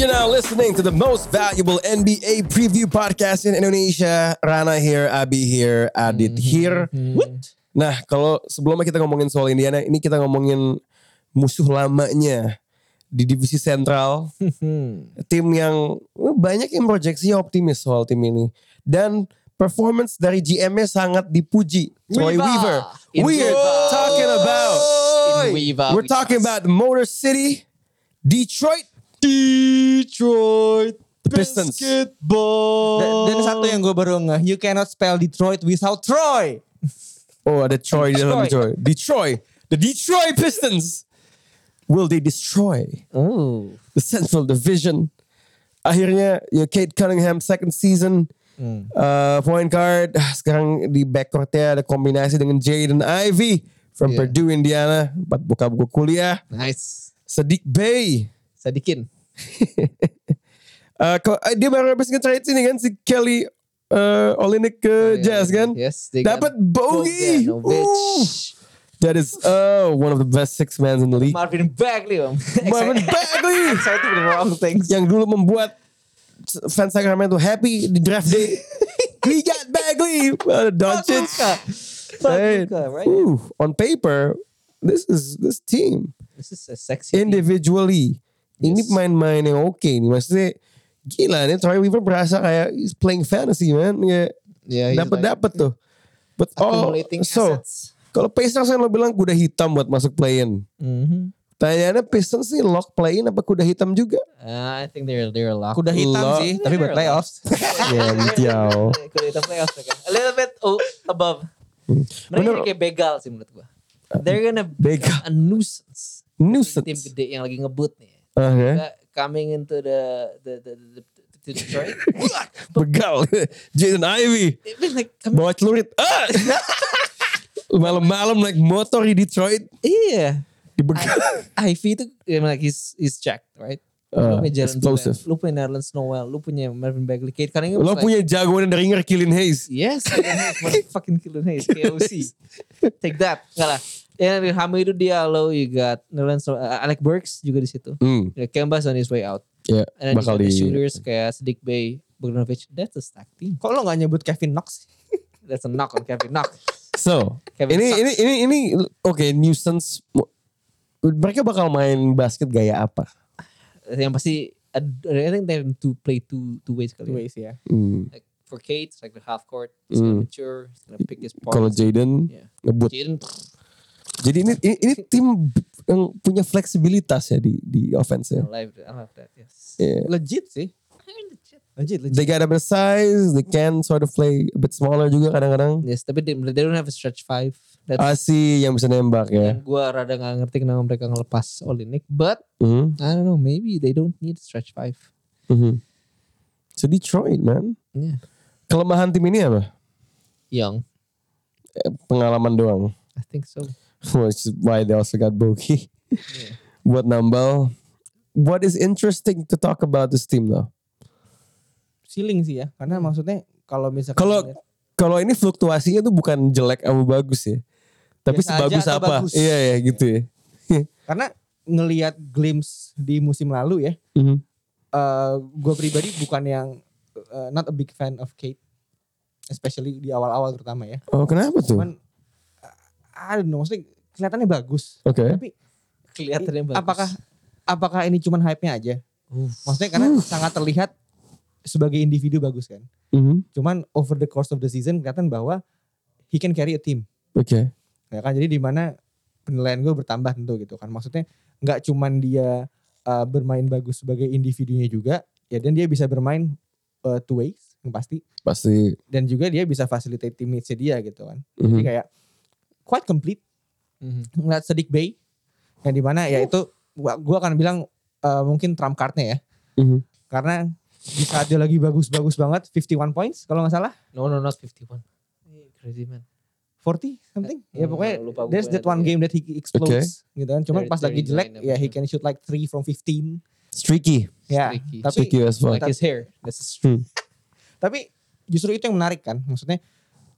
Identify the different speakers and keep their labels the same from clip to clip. Speaker 1: You're now listening to the most valuable NBA preview podcast in Indonesia. Rana here, Abi here,
Speaker 2: Mhm.
Speaker 1: Adit here. What? Nah, kalau sebelumnya kita ngomongin soal Indiana, ini kita ngomongin musuh lamanya di divisi sentral. tim yang eh, banyak yang proyeksi optimis soal tim ini. Dan performance dari GM-nya sangat dipuji. Troy
Speaker 2: Weaver.
Speaker 1: Weaver.
Speaker 2: In
Speaker 1: We're
Speaker 2: Weaver.
Speaker 1: talking about
Speaker 2: In Weaver,
Speaker 1: We're
Speaker 2: we
Speaker 1: talking
Speaker 2: trust.
Speaker 1: about Motor City, Detroit,
Speaker 3: Detroit
Speaker 1: The Pistons.
Speaker 3: Basketball.
Speaker 4: Da- Dan satu yang gue baru ngeh, you cannot spell Detroit without Troy.
Speaker 1: Oh, ada Troy di dalam Detroit.
Speaker 4: Detroit.
Speaker 1: Detroit. The Detroit Pistons. Will they destroy
Speaker 2: Oh.
Speaker 1: the Central Division? Akhirnya ya Kate Cunningham second season
Speaker 2: Hmm.
Speaker 1: uh, point guard. Sekarang di backcourtnya ada kombinasi dengan Jaden Ivey from
Speaker 2: Yeah.
Speaker 1: Purdue, Indiana. Buat buka buku kuliah.
Speaker 2: Nice.
Speaker 1: Sadiq Bay.
Speaker 2: Sadikin.
Speaker 1: Uh, ko- eh, dia baru habis nge-trade sini kan si Kelly uh,
Speaker 2: Oh,
Speaker 1: Olynyk ke
Speaker 2: iya,
Speaker 1: Jazz
Speaker 2: iya.
Speaker 1: kan?
Speaker 2: Yes, they got
Speaker 1: Dapat bogey. Ooh.
Speaker 2: Bogdanovic.
Speaker 1: That is oh one of the best six men in the league.
Speaker 4: Marvin Bagley. Om.
Speaker 1: Marvin Bagley
Speaker 4: Excited for the wrong things.
Speaker 1: yang dulu membuat fans Sacramento happy di draft day. We got Bagley, uh, Doncic.
Speaker 4: Luka.
Speaker 1: Right.
Speaker 4: Luka, right?
Speaker 1: Ooh, on paper, this is this team
Speaker 4: This is a sexy.
Speaker 1: individually. Ini pemain-pemain yang oke nih. Maksudnya gila nih Troy Weaver berasa kayak he's playing fantasy man. Kayak
Speaker 2: Yeah, he's
Speaker 1: dapat
Speaker 2: like
Speaker 1: dapat tuh. But all
Speaker 2: accumulating
Speaker 1: oh, so
Speaker 2: assets.
Speaker 1: kalau Pacers kan lo bilang kuda hitam buat masuk play-in.
Speaker 2: Mm-hmm.
Speaker 4: Mhm.
Speaker 1: Tanyaannya Pistons nih lock play-in apa kuda hitam juga?
Speaker 2: Uh, I think they're they're locked.
Speaker 4: Kuda hitam
Speaker 1: Lo-
Speaker 4: sih, tapi buat playoffs.
Speaker 1: Gentiao.
Speaker 4: Kuda hitam playoffs. oke. ya, A little bit oh, above.
Speaker 1: Bener.
Speaker 4: Mereka kayak begal sih menurut gue. They're gonna
Speaker 1: Begal.
Speaker 4: become a nuisance. Tim
Speaker 1: Nuisance. Ah, ya.
Speaker 4: gede yang lagi ngebut nih.
Speaker 1: Oke.
Speaker 4: Mereka Coming into the the the, the, the to Detroit.
Speaker 1: Begal. Jaden Ivey.
Speaker 4: They've been like, come
Speaker 1: Bawa celurit. Ah! Malam-malam naik motor di Detroit.
Speaker 4: Iya.
Speaker 1: Dibegal.
Speaker 4: Ivy itu I mean, like he's he's jacked, right?
Speaker 1: Uh,
Speaker 4: lu punya Jalen
Speaker 1: explosive.
Speaker 4: Duren, lu punya Nerlens Noel, lu punya Marvin Bagley, Kate Cunningham.
Speaker 1: Lo
Speaker 4: was
Speaker 1: punya jagoan dari ringer Killian Hayes.
Speaker 4: Yes, I don't know. motherfucking Killian Hayes, KOC. Take that. Enggak lah. Ya, Hamu itu dia, lo you got Nerlens Noel, uh, Alec Burks juga di situ.
Speaker 1: Hmm.
Speaker 4: Ya, Kemba's on his way out.
Speaker 1: Ya,
Speaker 4: And then
Speaker 1: bakal
Speaker 4: you got the
Speaker 1: di
Speaker 4: shooters kayak Sadiq Bay, Bogdanovic. That's a stack team. Kok lo gak nyebut Kevin Knox? That's a knock on Kevin Knox.
Speaker 1: So,
Speaker 4: Kevin
Speaker 1: ini,
Speaker 4: Sucks.
Speaker 1: ini ini ini oke nuisance mereka bakal main basket gaya apa?
Speaker 4: Yang pasti, uh, I think they're to play two two ways kali. ya.
Speaker 3: ya.
Speaker 1: Hmm.
Speaker 4: like for Kate, it's like the half court. He's gonna
Speaker 1: Mm.
Speaker 4: mature. He's gonna pick his part.
Speaker 1: Kalau
Speaker 3: Iya.
Speaker 1: Jaden
Speaker 4: yeah.
Speaker 1: ngebut.
Speaker 4: Jaden,
Speaker 1: Jadi ini, ini ini tim yang punya fleksibilitas ya di di offense
Speaker 4: I
Speaker 1: ya.
Speaker 4: love that. I love that. Yes.
Speaker 1: Yeah.
Speaker 3: Legit sih. Legit, legit.
Speaker 1: They got a bit of size, they can sort of play a bit smaller juga kadang-kadang.
Speaker 4: Yes, tapi they, they don't have a stretch five. That's
Speaker 1: Ah, Asi yang bisa nembak ya.
Speaker 3: Iya.
Speaker 4: yang gue rada gak ngerti kenapa mereka ngelepas Olinik. But
Speaker 1: Mhm,
Speaker 4: I don't know, maybe they don't need stretch five.
Speaker 1: mhm. So Detroit man.
Speaker 4: Yeah.
Speaker 1: Kelemahan tim ini apa?
Speaker 4: Young,
Speaker 1: Eh, Pengalaman doang.
Speaker 4: I think so.
Speaker 1: Which is why they also got Bogey.
Speaker 3: Iya.
Speaker 4: Yeah.
Speaker 1: Buat nambal. What is interesting to talk about this team though?
Speaker 3: Ceiling sih ya. Karena maksudnya kalau misalkan
Speaker 1: Hmm. Kalau- Kalau ini fluktuasinya tuh bukan jelek atau bagus ya. Tapi
Speaker 3: Biasa aja
Speaker 1: sebagus
Speaker 3: atau
Speaker 1: apa?
Speaker 3: bagus.
Speaker 1: Iya ya gitu ya.
Speaker 3: karena ngelihat glimpse di musim lalu ya,
Speaker 1: Mhm.
Speaker 3: eh gue pribadi bukan yang eh, not a big fan of Kate, especially di awal-awal terutama ya.
Speaker 1: Oh kenapa tuh? Oke.
Speaker 3: Cuman eh, I don't know, maksudnya kelihatannya bagus.
Speaker 1: Ya?
Speaker 3: Tapi
Speaker 4: Kelihatannya bagus.
Speaker 3: apakah apakah ini cuman hype-nya aja? Maksudnya karena
Speaker 1: Uh.
Speaker 3: sangat terlihat sebagai individu bagus kan.
Speaker 1: Mhm.
Speaker 3: Cuman over the course of the season kelihatan bahwa he can carry a team.
Speaker 1: Oke.
Speaker 3: Ya kan jadi di mana penilaian gue bertambah tentu gitu kan. Maksudnya nggak cuman dia uh, bermain bagus sebagai individunya juga, ya dan dia bisa bermain uh, two ways yang pasti
Speaker 1: Pasti.
Speaker 3: dan juga dia bisa facilitate teammates dia gitu kan. Jadi
Speaker 1: Mhm.
Speaker 3: kayak quite complete
Speaker 4: Mhm.
Speaker 3: ngeliat Sedik Bay yang dimana ya itu gua, gua akan bilang eh, mungkin trump cardnya ya
Speaker 1: Mhm.
Speaker 3: karena di saat dia lagi bagus-bagus banget 51 points kalau nggak salah
Speaker 4: No, no, not 51. Ini Crazy man.
Speaker 3: 40 something
Speaker 4: Eh,
Speaker 3: ya pokoknya
Speaker 4: lupa gua
Speaker 3: there's that
Speaker 4: tadi
Speaker 3: one
Speaker 4: ya.
Speaker 3: game that he explodes gitu kan cuman
Speaker 4: Dari-
Speaker 3: pas lagi
Speaker 4: dari
Speaker 3: jelek
Speaker 4: line up
Speaker 3: ya he
Speaker 4: itu.
Speaker 3: can shoot like 3 from 15
Speaker 1: Streaky.
Speaker 3: ya
Speaker 4: Streaky.
Speaker 3: tapi
Speaker 1: Streaky as fuck. Hmm.
Speaker 4: Like his hair. That's his
Speaker 3: tapi justru itu yang menarik kan maksudnya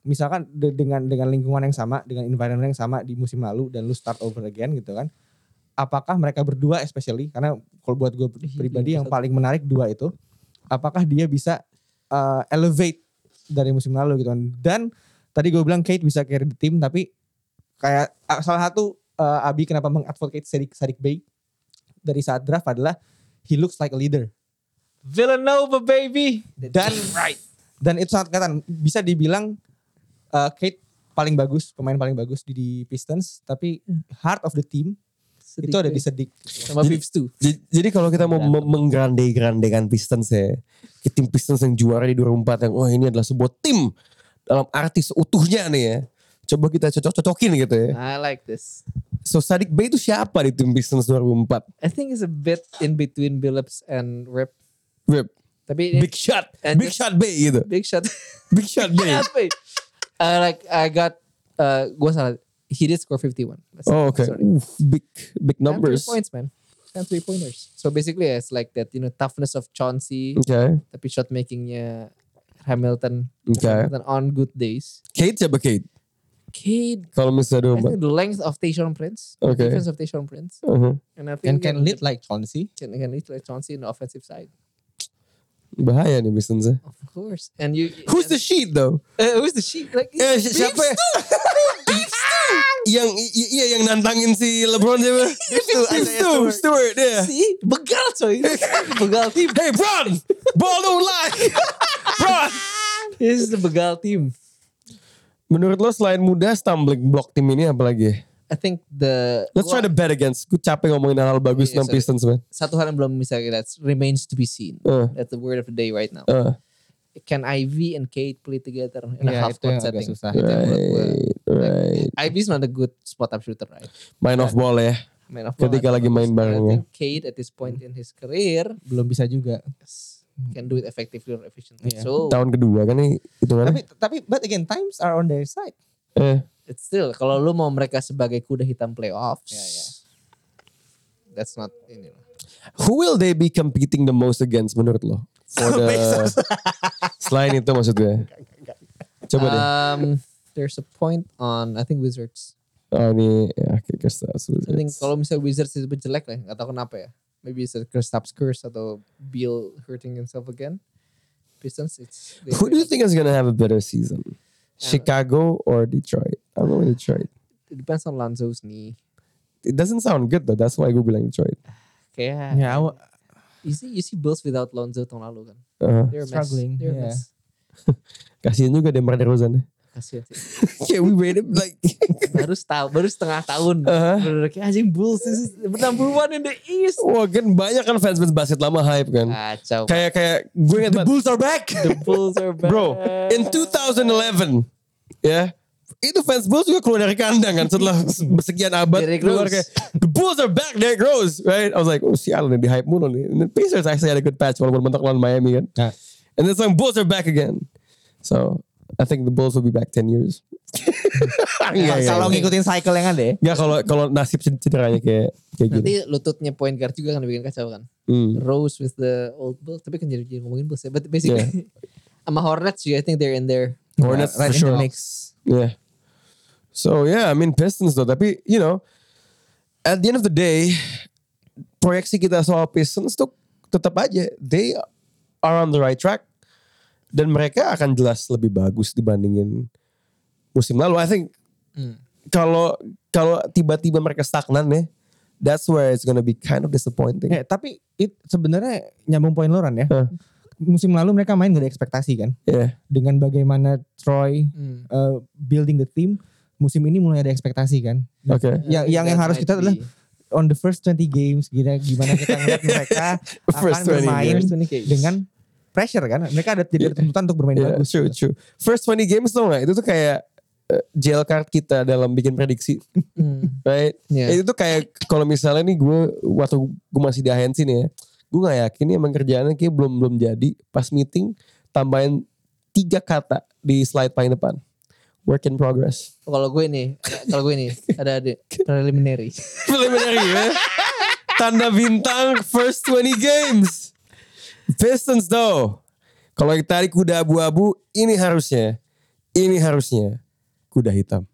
Speaker 3: misalkan de- dengan dengan lingkungan yang sama dengan environment yang sama di musim lalu dan lu start over again gitu kan apakah mereka berdua especially karena kalau buat gue pribadi yang paling menarik dua itu apakah dia bisa uh, elevate dari musim lalu gitu kan dan tadi gue bilang Kate bisa carry the team tapi kayak uh, salah satu uh, Abi kenapa mengadvocate Sadik Sadik Bay dari saat draft adalah he looks like a leader
Speaker 4: Villanova baby.
Speaker 3: dan dan itu sangat kelihatan bisa dibilang uh, Kate paling bagus pemain paling bagus di, di Pistons tapi heart of Hmm. the team itu ada di Sedik
Speaker 4: sama
Speaker 1: Jadi-
Speaker 4: Vips tuh.
Speaker 1: J- Jadi kalau kita mau
Speaker 3: Iya.
Speaker 1: me- menggrande-grandekan Pistons ya, ke tim Pistons yang juara di 2004 yang wah ini adalah sebuah tim dalam arti seutuhnya nih ya. Coba kita cocok-cocokin gitu
Speaker 3: Iya.
Speaker 1: ya.
Speaker 4: I like this.
Speaker 1: So Sadik Bey itu siapa di tim Pistons 2004?
Speaker 4: I think it's a bit in between Billups and Rip.
Speaker 1: Rip.
Speaker 4: Tapi ini
Speaker 1: Big shot,
Speaker 4: And
Speaker 1: big shot Bey gitu.
Speaker 4: big shot.
Speaker 1: Big shot
Speaker 3: Iya.
Speaker 1: Bey.
Speaker 4: Apa? I like I got uh, gue salah. He did score 51. That's
Speaker 1: Oh oke.
Speaker 4: Sorry.
Speaker 1: Oof, big big
Speaker 4: And three
Speaker 1: numbers. Oke.
Speaker 4: points, man. And three pointers. So basically, it's like that, you know, toughness of Chauncey, tapi shot makingnya Hamilton,
Speaker 1: Oke.
Speaker 4: Hamilton on good days.
Speaker 1: Kate siapa Kate?
Speaker 4: Cade,
Speaker 1: Kalau misalnya 2004.
Speaker 4: I think the length of Tayshaun Prince,
Speaker 1: Okay.
Speaker 4: the defense of Tayshaun Prince,
Speaker 1: Uh-huh.
Speaker 4: and I think
Speaker 3: and can
Speaker 4: that-
Speaker 3: lead like Chauncey
Speaker 4: can, can lead like Chauncey in the offensive side,
Speaker 1: Bahaya nih Pistons ya.
Speaker 4: of course. And you,
Speaker 1: Who's the sheet though?
Speaker 4: Uh, who's the sheep? Like
Speaker 1: Eh, si- siapa ya? yang i- i- iya yang nantangin si LeBron siapa? Stu, Stu, Stewart, ya.
Speaker 4: See, begal coy, begal team.
Speaker 1: Hey, Bron, ball don't lie. Bron.
Speaker 4: This is the begal team.
Speaker 1: Menurut lo selain muda stumbling block tim ini apa lagi?
Speaker 4: I think the
Speaker 1: Let's try to bet against. Gue capek ngomongin hal-hal bagus
Speaker 4: Iya,
Speaker 1: tentang
Speaker 4: sorry.
Speaker 1: Pistons man.
Speaker 4: satu hal yang belum bisa that remains to be seen.
Speaker 1: Eh,
Speaker 4: That's the word of the day right now.
Speaker 1: eh.
Speaker 4: Can Ivy and Kate play together in a
Speaker 3: Ya,
Speaker 4: half
Speaker 3: itu yang
Speaker 4: court
Speaker 3: agak
Speaker 4: setting?
Speaker 3: susah.
Speaker 4: Itu yang menurut gua.
Speaker 1: Right, right.
Speaker 4: Ivy's not a good spot up shooter, right?
Speaker 1: Main off ball ya.
Speaker 4: Man of
Speaker 1: Ketika
Speaker 4: ball,
Speaker 1: lagi main
Speaker 4: I
Speaker 1: bareng ya.
Speaker 4: think Kate at this point in his career
Speaker 3: belum bisa juga
Speaker 4: yes, can do it effectively or efficiently.
Speaker 3: Iya.
Speaker 4: So
Speaker 1: Tahun kedua kan nih hitungannya.
Speaker 3: tapi tapi but again times are on their side
Speaker 1: Eh,
Speaker 4: it's still kalau lu mau mereka sebagai kuda hitam playoffs,
Speaker 3: Ya, ya.
Speaker 4: that's not ini lah.
Speaker 1: who will they be competing the most against menurut lo? For the selain itu maksudnya. Coba deh.
Speaker 4: Um, there's a point on I think Wizards.
Speaker 1: Oh ini ya, oke Kristaps
Speaker 4: I think
Speaker 1: Wizards.
Speaker 4: kalau misalnya Wizards itu jelek lah, nggak tahu kenapa ya. Maybe it's a Kristaps curse atau Beal hurting himself again. Pistons, it's they-
Speaker 1: Who do you think is gonna have a better season? Chicago or Detroit? I'm going Detroit.
Speaker 4: it depends on Lonzo's knee.
Speaker 1: It doesn't sound good though. That's why gue bilang Detroit.
Speaker 4: Kayak
Speaker 3: ya aw-
Speaker 4: you see you see Bulls without Lonzo tahun lalu kan.
Speaker 1: Uh,
Speaker 4: They're a mess.
Speaker 3: Struggling,
Speaker 4: They're a
Speaker 3: yeah.
Speaker 4: mess.
Speaker 1: kasian juga Demar Derozan.
Speaker 4: Kasihan sih.
Speaker 1: yeah, we waited like
Speaker 4: baru setahun, baru setengah tahun.
Speaker 1: Uh-huh.
Speaker 4: Bener-bener kayak anjing Bulls this is number one in the East.
Speaker 1: wah kan banyak kan fans fans basket lama hype kan.
Speaker 4: Kacau.
Speaker 1: Kayak kayak gue ingat banget.
Speaker 3: Bulls are back
Speaker 4: The Bulls are back.
Speaker 1: Bro, in 2011 ya. Itu fans Bulls juga keluar dari kandang kan setelah sekian abad
Speaker 4: Derrick
Speaker 1: keluar
Speaker 4: Rose.
Speaker 1: kayak the Bulls are back Derrick Rose right I was like oh sialan nih di hype mulu nih and the Pacers actually had a good patch walaupun mentok lawan Miami kan
Speaker 3: Nah.
Speaker 1: and then some Bulls are back again so I think the Bulls will be back 10 years Enggak,
Speaker 3: kalau
Speaker 1: enggak.
Speaker 3: ngikutin cycle yang ada ya
Speaker 1: Enggak, kalau kalau nasib cederanya kayak kayak gini
Speaker 4: Nanti lututnya point guard juga kan bikin kacau kan.
Speaker 1: Hmm.
Speaker 4: Rose with the old Bulls. Tapi kan jadi, jadi ngomongin Bulls ya. But basically sama Hornets juga I think they're in there. Nah,
Speaker 1: Hornets for
Speaker 3: right in
Speaker 1: sure
Speaker 3: the mix
Speaker 1: Yeah. So yeah, I mean Pistons though. Tapi you know, at the end of the day, proyeksi kita soal Pistons tuh tetap aja they are on the right track dan mereka akan jelas lebih bagus dibandingin musim lalu. I think
Speaker 3: Hmm.
Speaker 1: kalau kalau tiba-tiba mereka stagnan ya, that's where it's gonna be kind of disappointing.
Speaker 3: Ya, tapi it sebenarnya nyambung poin Loran ya.
Speaker 1: Hah.
Speaker 3: Musim lalu mereka main gak ada ekspektasi kan.
Speaker 1: Yeah.
Speaker 3: Dengan bagaimana Troy
Speaker 4: Hmm.
Speaker 3: uh, building the team, musim ini mulai ada ekspektasi kan.
Speaker 1: Oke.
Speaker 3: Ya, yang yang
Speaker 4: That
Speaker 3: harus
Speaker 4: might
Speaker 3: kita adalah
Speaker 4: be-
Speaker 3: on the first 20 games gimana gimana kita ngeliat mereka akan
Speaker 1: First 20
Speaker 3: bermain
Speaker 1: games.
Speaker 3: dengan pressure kan. Mereka ada tidak ada tuntutan untuk bermain
Speaker 1: Yeah,
Speaker 3: bagus.
Speaker 1: Iya, true, true. First 20 games tuh nggak? Itu tuh kayak eh, jail card kita dalam bikin prediksi,
Speaker 4: Hmm.
Speaker 1: right?
Speaker 4: Yeah.
Speaker 1: Itu tuh kayak kalau misalnya nih gue waktu gue masih di agensi nih ya, gue nggak yakin nih emang kerjaannya kayak belum belum jadi. Pas meeting tambahin tiga kata di slide paling depan. Work in progress.
Speaker 4: Kalau gue ini, kalau gue ini ada ada preliminary.
Speaker 1: Preliminary ya. Tanda bintang first 20 games. Pistons though. Kalau ditarik kuda abu-abu, ini harusnya, ini harusnya kuda hitam.